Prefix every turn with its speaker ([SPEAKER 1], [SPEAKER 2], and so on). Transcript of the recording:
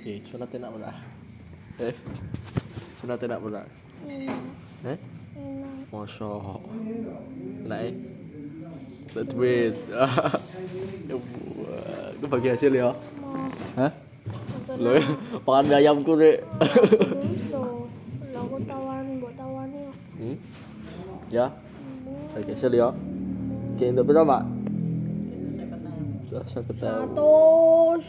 [SPEAKER 1] Okay, so natin na muna. Eh, so natin na muna. Eh? Masya. Na eh? Let's wait. Itu bagi hasil ya. Hah? Lo, makan mie ayam ku deh.
[SPEAKER 2] Lagu tawaran buat tawaran yuk.
[SPEAKER 1] hmm? Ya, bagi hasil ya. Oke, untuk berapa?
[SPEAKER 3] Itu saya kenal.
[SPEAKER 1] Dạ, Sudah saya ketahui.
[SPEAKER 2] Seratus.